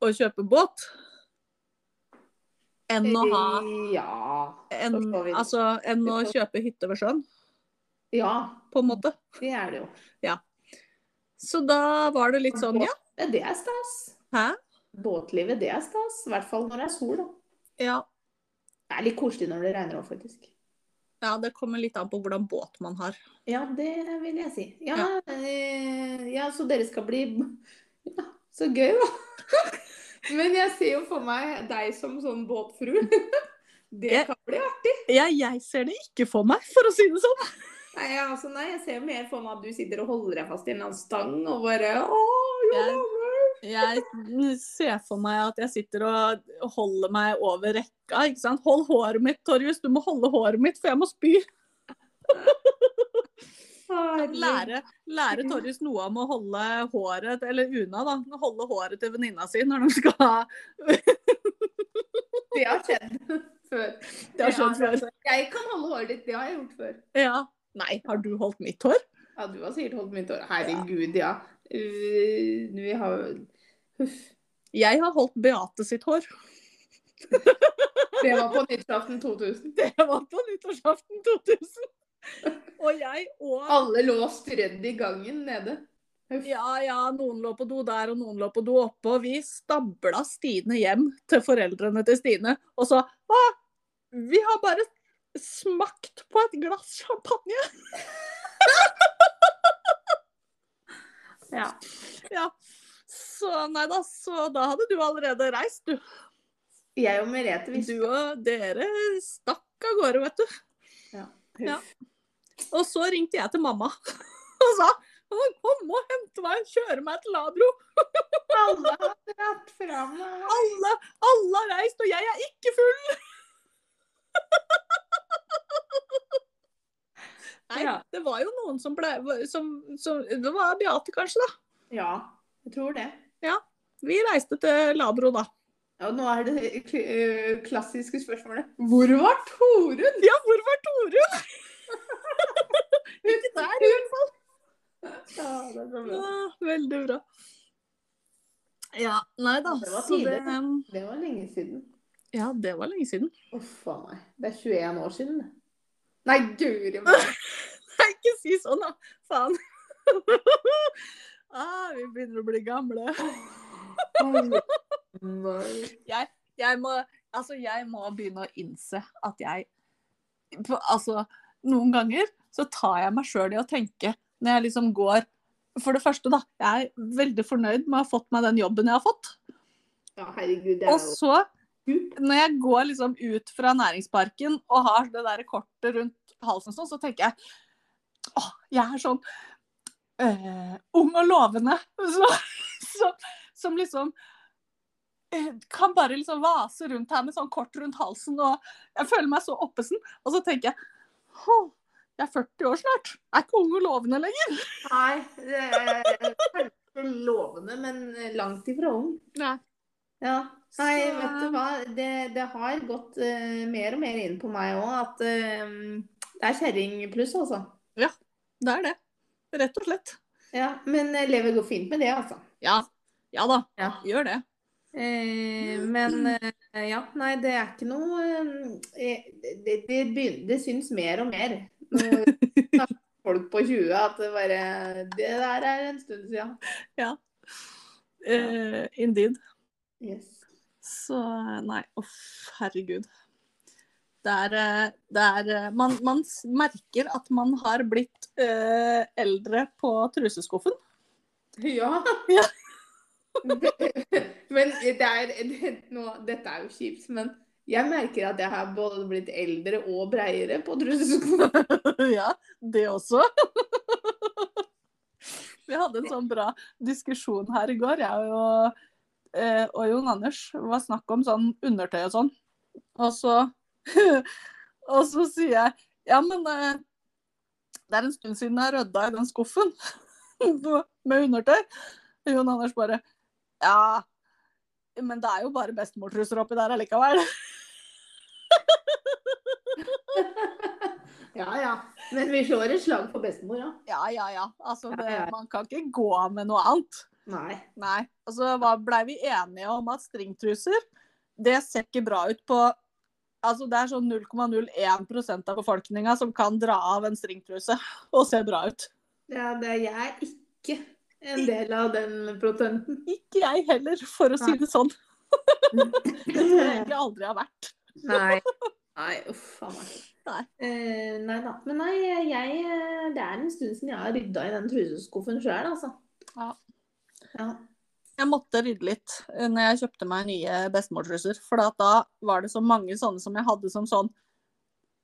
Speaker 2: å kjøpe båt enn å ha
Speaker 1: Eh, Ja.
Speaker 2: enn,
Speaker 1: forstår Mm, vi.
Speaker 2: altså, enn å kjøpe hytte ved sjøen,
Speaker 1: Ja,
Speaker 2: på en måte.
Speaker 1: det er det jo.
Speaker 2: Så da var det litt sånn, ja.
Speaker 1: Ja, Det er stas.
Speaker 2: Hæ?
Speaker 1: Båtlivet, det er stas. I hvert fall når det er sol, da.
Speaker 2: Ja.
Speaker 1: Det er litt koselig når det regner òg, faktisk.
Speaker 2: ja, det kommer litt an på hvordan båt man har.
Speaker 1: Ja, det vil jeg si. Ja,
Speaker 2: Ja.
Speaker 1: eh, ja så dere skal bli ja, Så gøy, da. Men jeg ser jo for meg deg som sånn båtfru. Det
Speaker 2: Jeg-
Speaker 1: kan bli artig.
Speaker 2: Ja, jeg ser det ikke for meg, for å si det sånn.
Speaker 1: Nei, jeg- altså, nei, jeg ser jo mer for meg at du sitter og holder deg fast i en eller annen stang og bare Å, ja,
Speaker 2: Jeg- Jeg ser for meg at jeg sitter og holder meg over rekka, ikke sant. Hold håret mitt, Torjus. Du må holde håret mitt, for jeg må spy.
Speaker 1: herregud.
Speaker 2: Lære, lære Torjus noe om å holde håret, eller Una, da. Holde håret til venninna si når de skal ha
Speaker 1: Det har skjedd før.
Speaker 2: Det har skjedd før.
Speaker 1: Jeg kan holde håret ditt, det har jeg gjort før.
Speaker 2: Ja. Nei, har du holdt mitt hår?
Speaker 1: Ja, du har sikkert holdt mitt hår. Herregud, ja. Uh, vi har Huff.
Speaker 2: Jeg har holdt Beate sitt hår.
Speaker 1: Det var på nyttårsaften 2000.
Speaker 2: Det var på nyttårsaften 2000. Og jeg og
Speaker 1: Alle lå strødd i gangen nede.
Speaker 2: Ja, ja, noen lå på do der, og noen lå på do oppe. Og vi stabla Stine hjem til foreldrene til Stine. Og så Å, vi har bare smakt på et glass champagne!
Speaker 1: Ja.
Speaker 2: Ja. Så nei da, så da hadde du allerede reist, du.
Speaker 1: Jeg og Merete
Speaker 2: Du
Speaker 1: visste
Speaker 2: og dere stakk av gårde, vet du.
Speaker 1: Ja.
Speaker 2: Ja. Og så ringte jeg til mamma og sa «Å, kom og hente meg, kjøre meg til Labro.
Speaker 1: Alle har dratt fra meg.
Speaker 2: Alle, alle har reist, og jeg er ikke full. Nei,
Speaker 1: Ja.
Speaker 2: det var jo noen som ble som, som, Det var Beate, kanskje, da.
Speaker 1: Ja, jeg tror det.
Speaker 2: Vi reiste til Labro, da.
Speaker 1: Og nå er det kl- øh, klassiske spørsmålet. Hvor var Torunn?
Speaker 2: Ja, hvor var Torunn? ikke der, i hvert fall.
Speaker 1: Ja, det er så bra.
Speaker 2: Ja, veldig bra. Ja, nei da.
Speaker 1: Det var
Speaker 2: så
Speaker 1: tidlig,
Speaker 2: det, Um,
Speaker 1: Det var lenge siden.
Speaker 2: ja, det var lenge siden.
Speaker 1: Uff a meg. Det er 21 år siden. det. Nei, guri meg.
Speaker 2: Nei, ikke si sånn, da. Faen. ah, vi begynner å bli gamle.
Speaker 1: Nei.
Speaker 2: Jeg må, altså, jeg må begynne å innse at jeg på- Altså, noen ganger så tar jeg meg sjøl i å tenke når jeg liksom går For det første, da. Jeg er veldig fornøyd med å ha fått meg den jobben jeg har fått.
Speaker 1: Ja, herregud, det er
Speaker 2: Og
Speaker 1: jo
Speaker 2: så, når jeg går liksom ut fra næringsparken og har det der kortet rundt halsen sånn, så tenker jeg åh, jeg er sånn eh, ung og lovende. Så, så, som liksom eh, kan bare liksom vase rundt her med sånn kort rundt halsen, og jeg føler meg så oppesen. Og så tenker jeg åh, jeg er 40 år snart. Jeg er ikke ung og lovende lenger.
Speaker 1: Nei, det er kanskje lovende, men langt ifra ung.
Speaker 2: Nei.
Speaker 1: Ja. Nei,
Speaker 2: Så-
Speaker 1: vet du hva. Det, det har gått eh, mer og mer inn på meg òg at eh, det er kjerring pluss, altså.
Speaker 2: Det er det. Rett og slett.
Speaker 1: Ja, men jeg lever godt fint med det, altså.
Speaker 2: Ja. Ja da.
Speaker 1: Ja.
Speaker 2: Gjør det.
Speaker 1: Eh, men eh, ja, nei, det er ikke noe eh, Det, det, det, begyn- det syns mer og mer. Nå snakker folk på 20 at det bare Det der er en stund siden.
Speaker 2: Eh, indeed.
Speaker 1: Yes.
Speaker 2: Så nei, uff, herregud. Det er, eh, det er eh, man, man s- merker at man har blitt eh, eldre på truseskuffen.
Speaker 1: Ja.
Speaker 2: Ja.
Speaker 1: men det er det, nå, Dette er jo kjipt, men jeg merker at jeg har både blitt eldre og breiere på trusseskolen.
Speaker 2: ja, det også. Vi hadde en sånn bra diskusjon her i går, jeg og, eh, og Jon Anders. Det var snakk om sånn undertøy og sånn. Og så, og så sier jeg ja, men eh, det er en stund siden jeg rydda i den skuffen med undertøy. Og Jon Anders bare ja, men det er jo bare bestemortruser oppi der allikevel.
Speaker 1: Ja, ja. Men vi slår et slag for bestemor, ja.
Speaker 2: Ja, ja, ja. Altså,
Speaker 1: Ja, ja,
Speaker 2: det,
Speaker 1: ja.
Speaker 2: man kan ikke gå av med noe annet.
Speaker 1: Nei.
Speaker 2: Nei. Og så var- blei vi enige om at stringtruser, det ser ikke bra ut på Altså det er sånn 0,01 av befolkninga som kan dra av en stringtruse og se bra ut.
Speaker 1: Ja, det, jeg er ikke en del av den protenten.
Speaker 2: Ikke jeg heller, for å si det sånn. Det skulle jeg egentlig aldri ha vært.
Speaker 1: Nei. Nei, uff a meg.
Speaker 2: Nei.
Speaker 1: Eh, nei da. Men nei, jeg, eh, det er en stund siden jeg har rydda i den truseskuffen sjøl, altså.
Speaker 2: Ja.
Speaker 1: ja.
Speaker 2: Jeg måtte rydde litt eh, når jeg kjøpte meg nye bestemortruser, for at da var det så mange sånne som jeg hadde som sånn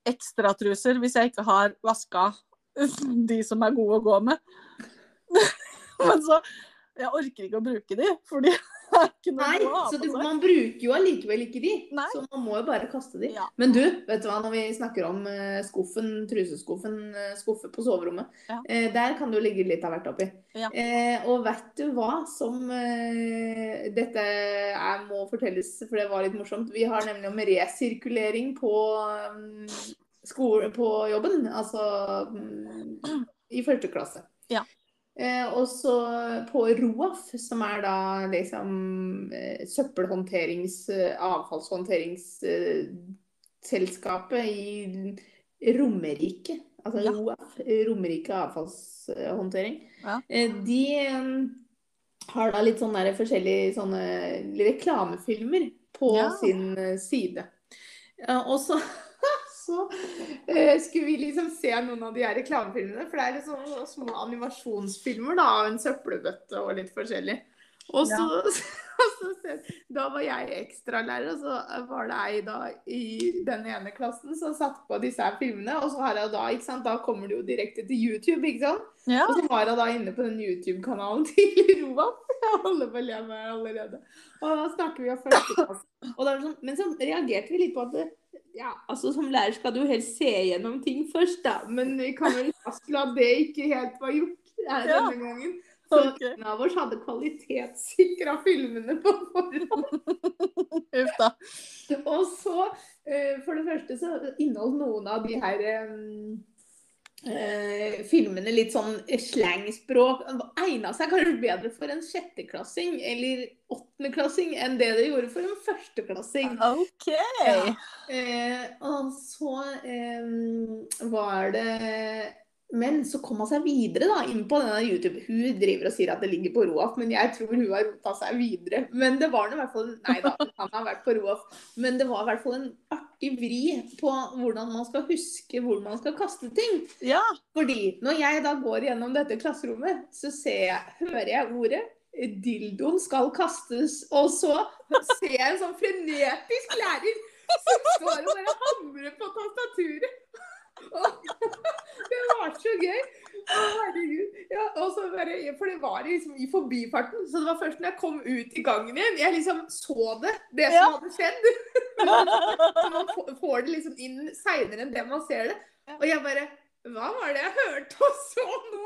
Speaker 2: ekstratruser hvis jeg ikke har vaska de som er gode å gå med. Men så Jeg orker ikke å bruke de, for de er ikke noe
Speaker 1: Nei,
Speaker 2: å ha
Speaker 1: så
Speaker 2: på
Speaker 1: du,
Speaker 2: seg.
Speaker 1: man bruker jo allikevel ikke de.
Speaker 2: Nei.
Speaker 1: Så man må jo bare kaste de.
Speaker 2: Ja.
Speaker 1: Men du, vet du hva, når vi snakker om eh, skuffen, truseskuffen, eh, skuffe på soverommet,
Speaker 2: Ja.
Speaker 1: eh, der kan du ligge litt av hvert oppi.
Speaker 2: Ja.
Speaker 1: Eh, og vet du hva som eh, Dette er, må fortelles, for det var litt morsomt. Vi har nemlig om resirkulering på um, skole, på jobben, altså mm, i mm, første klasse.
Speaker 2: Ja.
Speaker 1: Eh, og så på ROAF, som er da liksom eh, søppelhåndterings- eh, avfallshåndteringsselskapet i Romerike. Altså
Speaker 2: Ja.
Speaker 1: ROAF, Romerike avfallshåndtering.
Speaker 2: Ja.
Speaker 1: Eh, de eh, har da litt sånne der forskjellige sånne reklamefilmer på
Speaker 2: Ja.
Speaker 1: sin eh, side. Eh, og så så eh, skulle vi liksom se noen av de her reklamefilmene. For det er liksom sånne små animasjonsfilmer da, av en søppelbøtte og litt forskjellig. Og så, og så se- Da var jeg ekstralærer, og så var det ei da i den ene klassen som satte på disse her filmene. Og så har jeg da, ikke sant, da kommer du jo direkte til YouTube, ikke sant.
Speaker 2: Ja.
Speaker 1: Og så var hun da inne på den YouTube-kanalen til Roan. Jeg holder på å le meg allerede. Og da snakker vi om første klasse. Og da var det sånn, men så reagerte vi litt på at det, ja, altså som lærer skal du jo helst se gjennom ting først, da. Men vi kan vel fastslå at det ikke helt var gjort her
Speaker 2: Ja.
Speaker 1: denne gangen. Så
Speaker 2: Ok.
Speaker 1: noen av oss hadde kvalitetssikra filmene på forhånd.
Speaker 2: Uff da.
Speaker 1: Og så, eh, for det første, så inneholdt noen av de her eh, eh, filmene litt sånn slangspråk. Egna seg kanskje bedre for en sjetteklassing eller åttendeklassing enn det det gjorde for en førsteklassing.
Speaker 2: OK.
Speaker 1: Ja. Eh, og så eh, var det Men så kom han seg videre da, inn på denne YouTube. Hun driver og sier at det ligger på Roaf, men jeg tror hun har rota seg videre. Men det var nå i hvert fall Nei da, han har vært på Roaf. Men det var i hvert fall en artig vri på hvordan man skal huske hvor man skal kaste ting.
Speaker 2: Ja.
Speaker 1: Fordi når jeg da går gjennom dette klasserommet, så ser jeg, hører jeg ordet dildoen skal kastes, og så ser jeg en sånn frenetisk lærer som står og bare hamrer på tastaturet. Og det var så gøy. Å, herregud. Ja, og så bare, for det var liksom i forbifarten, så det var først når jeg kom ut i gangen igjen, jeg liksom så det, det som hadde skjedd. Så man få- får det liksom inn seinere enn det man ser det. Og jeg bare Hva var det jeg hørte og så nå?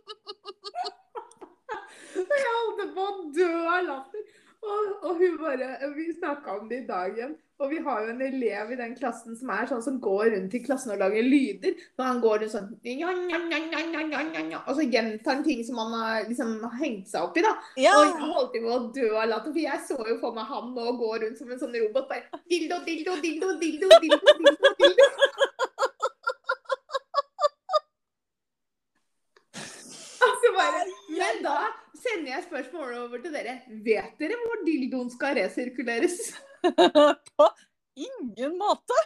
Speaker 1: Og jeg holdt på å dø av latter. Og, og hun bare Vi snakka om det i dag igjen. Og vi har jo en elev i den klassen som er sånn som går rundt i klassen og lager lyder. Så han går rundt sånn «Nja, nja, nja, nja, nja, nja, nja, nja», Og så gjentar han ting som han har liksom hengt seg opp i, da.
Speaker 2: ja.
Speaker 1: Og jeg holdt på å dø av latter, for jeg så jo for meg han nå gå rundt som en sånn robot. Bare dildo, dildo, dildo, dildo, dildo, dildo, dildo. Altså bare, men da sender jeg spørsmålet over til dere. Vet dere hvor dildoen skal resirkuleres?
Speaker 2: På ingen måte.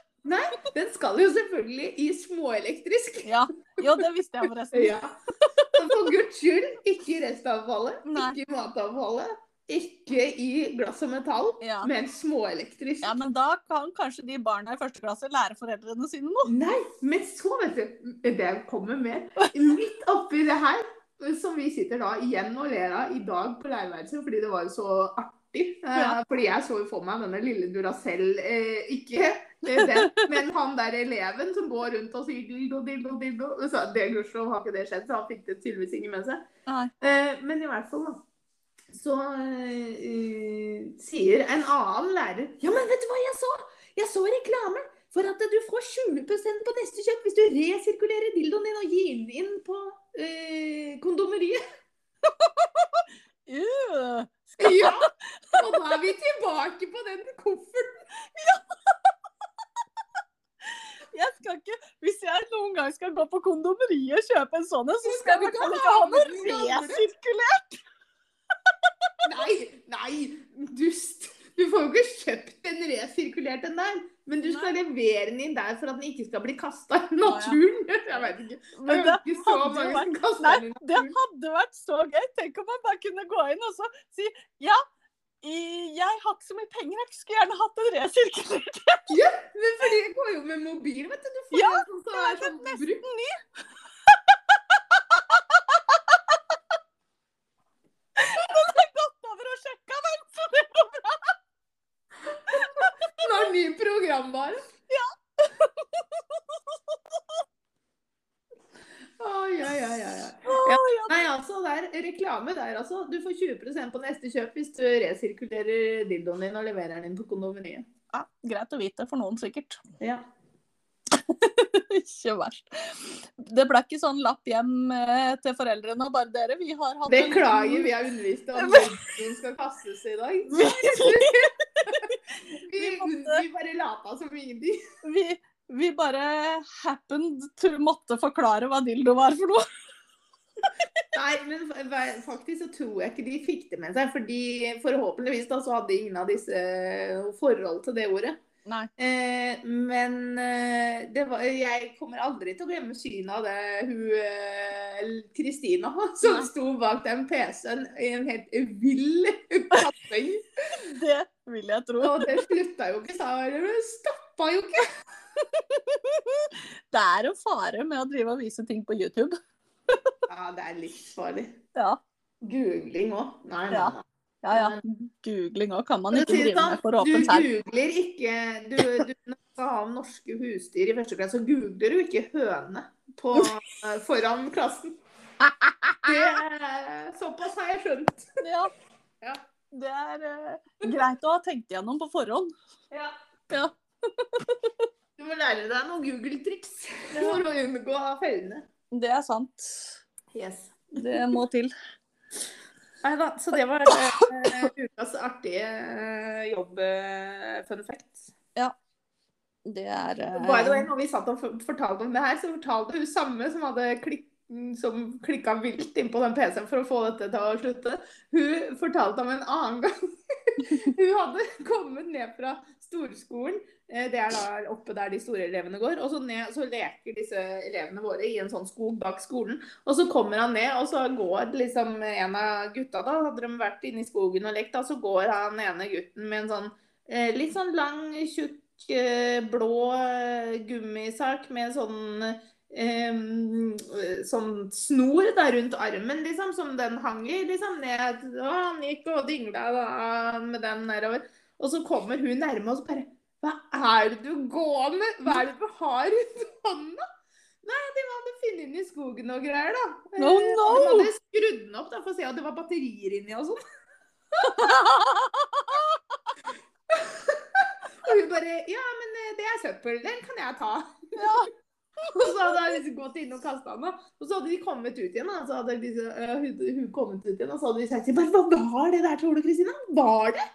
Speaker 1: Den skal jo selvfølgelig i småelektrisk.
Speaker 2: Ja. Jo, det visste jeg forresten.
Speaker 1: Ja. Så for guds skyld, ikke i restavfallet,
Speaker 2: Nei.
Speaker 1: ikke i matavfallet, ikke i glass og metall.
Speaker 2: Ja.
Speaker 1: Men småelektrisk.
Speaker 2: ja, men da kan kanskje de barna i første klasse lære foreldrene sine noe.
Speaker 1: Nei, men så, vet du, det kommer mer. Midt oppi det her, som vi sitter da igjen og ler av i dag på leirværelset, fordi det var jo så artig. Eh,
Speaker 2: Ja.
Speaker 1: Fordi jeg så jo for meg denne lille Duracell, eh, ikke eh, den, men han der eleven som går rundt og sier dildo, dildo, dildo. Så det gudskjelov har ikke det skjedd, så han fikk det tydeligvis ikke med seg.
Speaker 2: Nei.
Speaker 1: Eh, men i hvert fall, da. Så eh, eh, sier en annen lærer Ja, men vet du hva jeg så? Jeg så reklame for at du får 20 på neste kjøp hvis du resirkulerer dildoen din og gir den inn på eh, kondomeriet.
Speaker 2: Uh,
Speaker 1: Ja! Og da er vi tilbake på den kofferten.
Speaker 2: jeg skal ikke, hvis jeg noen gang skal gå på kondomeriet og kjøpe en sånn en, så
Speaker 1: Så
Speaker 2: skal jeg i hvert
Speaker 1: skal du
Speaker 2: fall
Speaker 1: ikke
Speaker 2: ikke ha
Speaker 1: ha
Speaker 2: noe
Speaker 1: med den gamle.
Speaker 2: resirkulert.
Speaker 1: Nei, nei, dust. Du får jo ikke kjøpt en resirkulert en der. Men du skal levere den inn der for at den ikke skal bli kasta i naturen. Jeg vet ikke.
Speaker 2: Men det,
Speaker 1: ikke
Speaker 2: så hadde jo mange
Speaker 1: som kaster
Speaker 2: Nei, det hadde vært så gøy. Tenk om man bare kunne gå inn og så si ja, i- jeg har ikke så mye penger, jeg skulle gjerne hatt en resirkulert
Speaker 1: Men fordi jeg går jo med mobil, vet du. Du får
Speaker 2: Ja,
Speaker 1: jo sånn som er sånn bruk.
Speaker 2: ny. Den har gått over og sjekka, vel, så det går bra.
Speaker 1: Den har ny programvare. Å, ja, ja, ja, ja. Ja.
Speaker 2: Å, ja.
Speaker 1: Nei, altså, det er reklame der, altså. Du får 20 på neste kjøp hvis du resirkulerer dildoen din og leverer den inn på kondomeriet.
Speaker 2: Ja, greit å vite for noen, sikkert.
Speaker 1: Ja.
Speaker 2: ikke verst. Det ble ikke sånn lapp hjem eh, til foreldrene og bare dere. Vi har hatt en
Speaker 1: Beklager, vi har undervist om hvem som skal kastes i dag. Vi,
Speaker 2: Vi måtte-
Speaker 1: vi bare lata som ingenting.
Speaker 2: vi, vi bare happened to måtte forklare hva dildo var for noe.
Speaker 1: Nei, men fa- fa- faktisk så tror jeg ikke de fikk det med seg. fordi forhåpentligvis da, så hadde ingen av disse eh, forhold til det ordet.
Speaker 2: Nei.
Speaker 1: Eh, men eh, det var, jeg kommer aldri til å glemme synet av det hun eh, Kristina som
Speaker 2: Nei.
Speaker 1: sto bak den PC-en i en helt vill kasting.
Speaker 2: Det vil jeg tro.
Speaker 1: Og det slutta jo ikke, sa hun. Det Stoppa jo ikke.
Speaker 2: Det er en fare med å drive og vise ting på YouTube.
Speaker 1: Ja, det er livsfarlig.
Speaker 2: Ja,
Speaker 1: Googling òg. Nei, nei,
Speaker 2: Ja.
Speaker 1: nei.
Speaker 2: ja. ja. Googling òg kan man
Speaker 1: Men
Speaker 2: ikke
Speaker 1: si det
Speaker 2: drive
Speaker 1: sånn,
Speaker 2: med for åpent her.
Speaker 1: Du googler ikke du, du, Når du skal ha om norske husdyr i første klasse, så googler du ikke høne på, eh, foran klassen. Det, såpass har jeg skjønt.
Speaker 2: Ja.
Speaker 1: Ja.
Speaker 2: Det er eh, greit å ha tenkt igjennom på forhånd. Ja.
Speaker 1: Du må lære deg noen Google-triks for å unngå fellene.
Speaker 2: Det er sant.
Speaker 1: Yes.
Speaker 2: Det må til.
Speaker 1: Nei da, så det var eh, ukas artige eh, jobb-fun fact.
Speaker 2: Det er eh,
Speaker 1: By the way, når vi satt og for- fortalte om det her, så fortalte hun samme som hadde klikk som klikka vilt inn på den PC-en for å få dette til å slutte. Hun fortalte om en annen gang. Hun hadde kommet ned fra storskolen, eh, det er da oppe der de store elevene går, og så, ned, så leker disse elevene våre i en sånn skog bak skolen. Og så kommer han ned, og så går liksom en av gutta, da hadde de vært inne i skogen og lekt, da, så går han ene gutten med en sånn eh, litt sånn lang, tjukk, eh, blå eh, gummisak med sånn em, eh, sånn snor da rundt armen, liksom, som den hang i, liksom, ned. Og han gikk og dingla da med den nedover. Og så kommer hun nærme og så bare Hva er det du går med? Hva er det du har rundt hånda? Nei, de hadde funnet den i skogen og greier, da.
Speaker 2: No,
Speaker 1: Eh,
Speaker 2: no!
Speaker 1: De hadde skrudd den opp da, for å se at det var batterier inni og sånn. Og hun bare Ja, men eh, det er søppel. Den kan jeg ta.
Speaker 2: Ja.
Speaker 1: Og så hadde jeg liksom gått inn og kasta den. da. Og så hadde de kommet ut igjen. da. Så hadde disse, eh, hun, hun kommet ut igjen, og så hadde de sagt til henne, bare, Hva var det der, tror du, Kristina? Var det?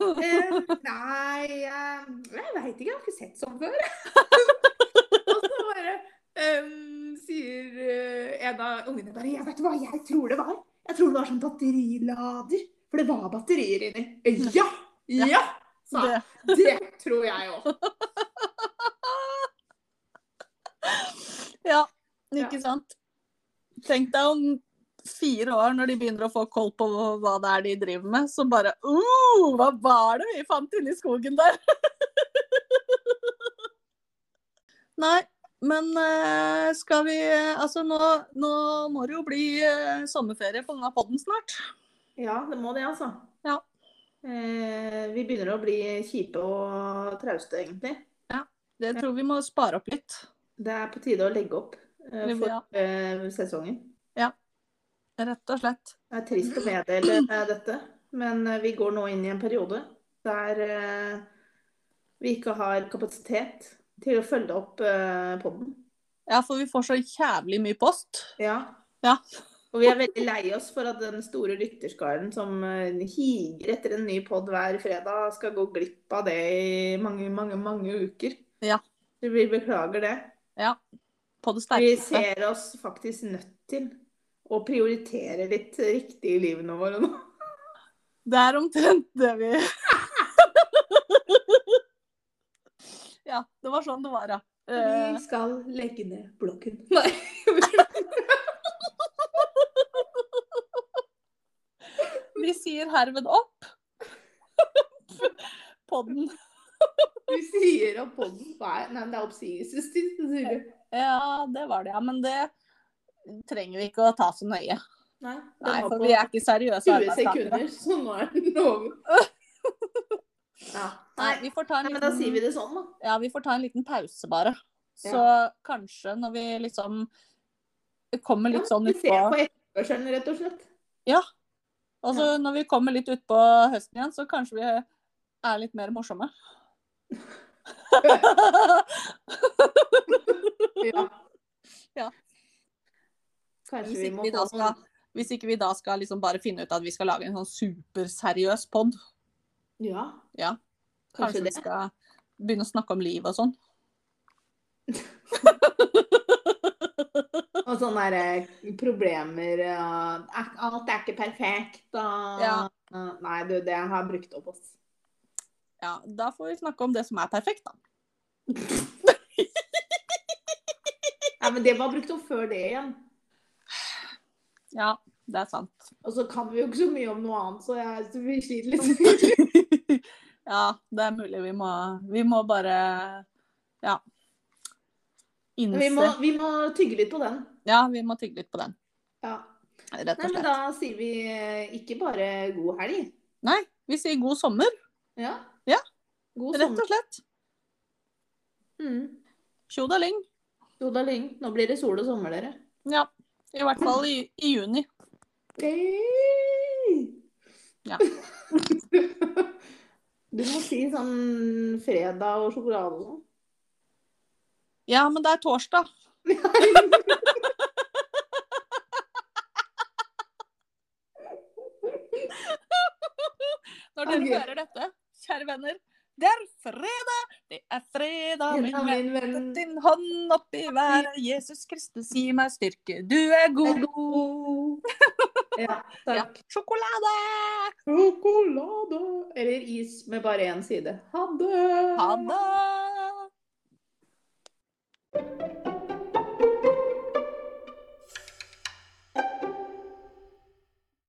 Speaker 1: Eh, nei, eh, jeg veit ikke. Jeg har ikke sett sånn før. og så bare ehm, sier eh, en av ungene bare Jeg vet hva jeg tror det var. Jeg tror det var sånn batterilader. For det var batterier inni. Ja! Ja! sa
Speaker 2: det,
Speaker 1: det tror jeg òg.
Speaker 2: ja, ikke sant. Tenk deg om fire år, når de begynner å få koll på hva det er de driver med, så bare uh, Hva var det vi fant inni skogen der? Nei, men eh, skal vi Altså, nå, nå må det jo bli eh, sommerferie på denne podden snart.
Speaker 1: Ja, det må det, altså.
Speaker 2: Ja.
Speaker 1: Eh, vi begynner å bli kjipe og trauste, egentlig.
Speaker 2: Det tror vi må spare opp litt.
Speaker 1: Det er på tide å legge opp eh,
Speaker 2: Vi må-
Speaker 1: for
Speaker 2: ja.
Speaker 1: eh, sesongen.
Speaker 2: Rett og slett.
Speaker 1: Det er trist å meddele eh, dette, men eh, vi går nå inn i en periode der eh, vi ikke har kapasitet til å følge opp eh, podden.
Speaker 2: Ja, for vi får så jævlig mye post.
Speaker 1: Ja.
Speaker 2: Ja.
Speaker 1: Og vi er veldig lei oss for at den store lytterskaren som eh, higer etter en ny pod hver fredag, skal gå glipp av det i mange, mange, mange uker.
Speaker 2: Ja.
Speaker 1: Så Vi beklager det.
Speaker 2: På det
Speaker 1: Vi
Speaker 2: sterkeste.
Speaker 1: ser oss faktisk nødt til å prioritere litt riktig i livene våre nå.
Speaker 2: Det er omtrent det vi Ja, det var sånn det var, ja. Eh,
Speaker 1: Vi skal legge ned blokken.
Speaker 2: Nei. Eh, vi sier herved opp. Podden.
Speaker 1: Vi sier opp podden. Nei, nei, det er oppsigelsestid, så sier du.
Speaker 2: Ja, det var det, ja. Men det trenger vi ikke å ta så nøye.
Speaker 1: Nei, den
Speaker 2: Nei,
Speaker 1: var
Speaker 2: for
Speaker 1: på
Speaker 2: vi er ikke seriøse
Speaker 1: 20
Speaker 2: arbeidstakere.
Speaker 1: sekunder, så nå er den over. Ja.
Speaker 2: Nei, vi får ta en
Speaker 1: Nei, men da sier
Speaker 2: liten
Speaker 1: vi det sånn, da.
Speaker 2: Ja, vi får ta en liten pause bare. Så kanskje når vi liksom kommer litt sånn
Speaker 1: vi
Speaker 2: utpå
Speaker 1: ser på etterspørselen, rett og slett.
Speaker 2: Altså når vi kommer litt utpå høsten igjen, så kanskje vi er litt mer morsomme.
Speaker 1: Ja.
Speaker 2: Ja.
Speaker 1: Kanskje
Speaker 2: Hvis
Speaker 1: vi
Speaker 2: ikke
Speaker 1: må
Speaker 2: vi da
Speaker 1: få
Speaker 2: skal,
Speaker 1: noen
Speaker 2: hvis ikke vi da skal liksom bare finne ut at vi skal lage en sånn superseriøs pod,
Speaker 1: Ja.
Speaker 2: Ja.
Speaker 1: Kanskje
Speaker 2: kanskje vi
Speaker 1: det.
Speaker 2: skal begynne å snakke om livet og sånn.
Speaker 1: Og sånne der, eh, problemer og "Ak- Alt er ikke perfekt og
Speaker 2: Ja.
Speaker 1: og- Nei, du, det har jeg brukt opp, ass.
Speaker 2: Ja, da får vi snakke om det som er perfekt, da.
Speaker 1: Nei, men det var brukt opp før det igjen.
Speaker 2: Ja, det er sant.
Speaker 1: Og så kan vi jo ikke så mye om noe annet, så, jeg, så vi sliter litt.
Speaker 2: Ja, det er mulig vi må Vi må bare Ja. Innse
Speaker 1: Vi må, vi må tygge litt på den.
Speaker 2: Ja, vi må tygge litt på den,
Speaker 1: Ja.
Speaker 2: rett og
Speaker 1: Nei, men
Speaker 2: slett.
Speaker 1: da sier vi eh, ikke bare god helg.
Speaker 2: Nei, vi sier god sommer,
Speaker 1: Ja.
Speaker 2: Ja.
Speaker 1: God
Speaker 2: rett og
Speaker 1: sommer.
Speaker 2: slett.
Speaker 1: Mm.
Speaker 2: Tjodaling.
Speaker 1: Joda Lyng, nå blir det sol og sommer, dere.
Speaker 2: Ja. I hvert fall i, i juni.
Speaker 1: Hey!
Speaker 2: Ja.
Speaker 1: Du må si sånn fredag og sjokolade og sånn.
Speaker 2: Ja, men det er torsdag. Når dere
Speaker 1: Ok.
Speaker 2: hører dette, kjære venner, det er fredag! Det er fredag, min
Speaker 1: Ja,
Speaker 2: venn.
Speaker 1: min venn.
Speaker 2: Sett din hånd opp i været. Jesus Kristus, gi meg styrke. Du er god.
Speaker 1: Ja,
Speaker 2: Ja.
Speaker 1: takk.
Speaker 2: Sjokolade!
Speaker 1: Sjokolade! Eller is med bare én side. Ha det!
Speaker 2: Ha det!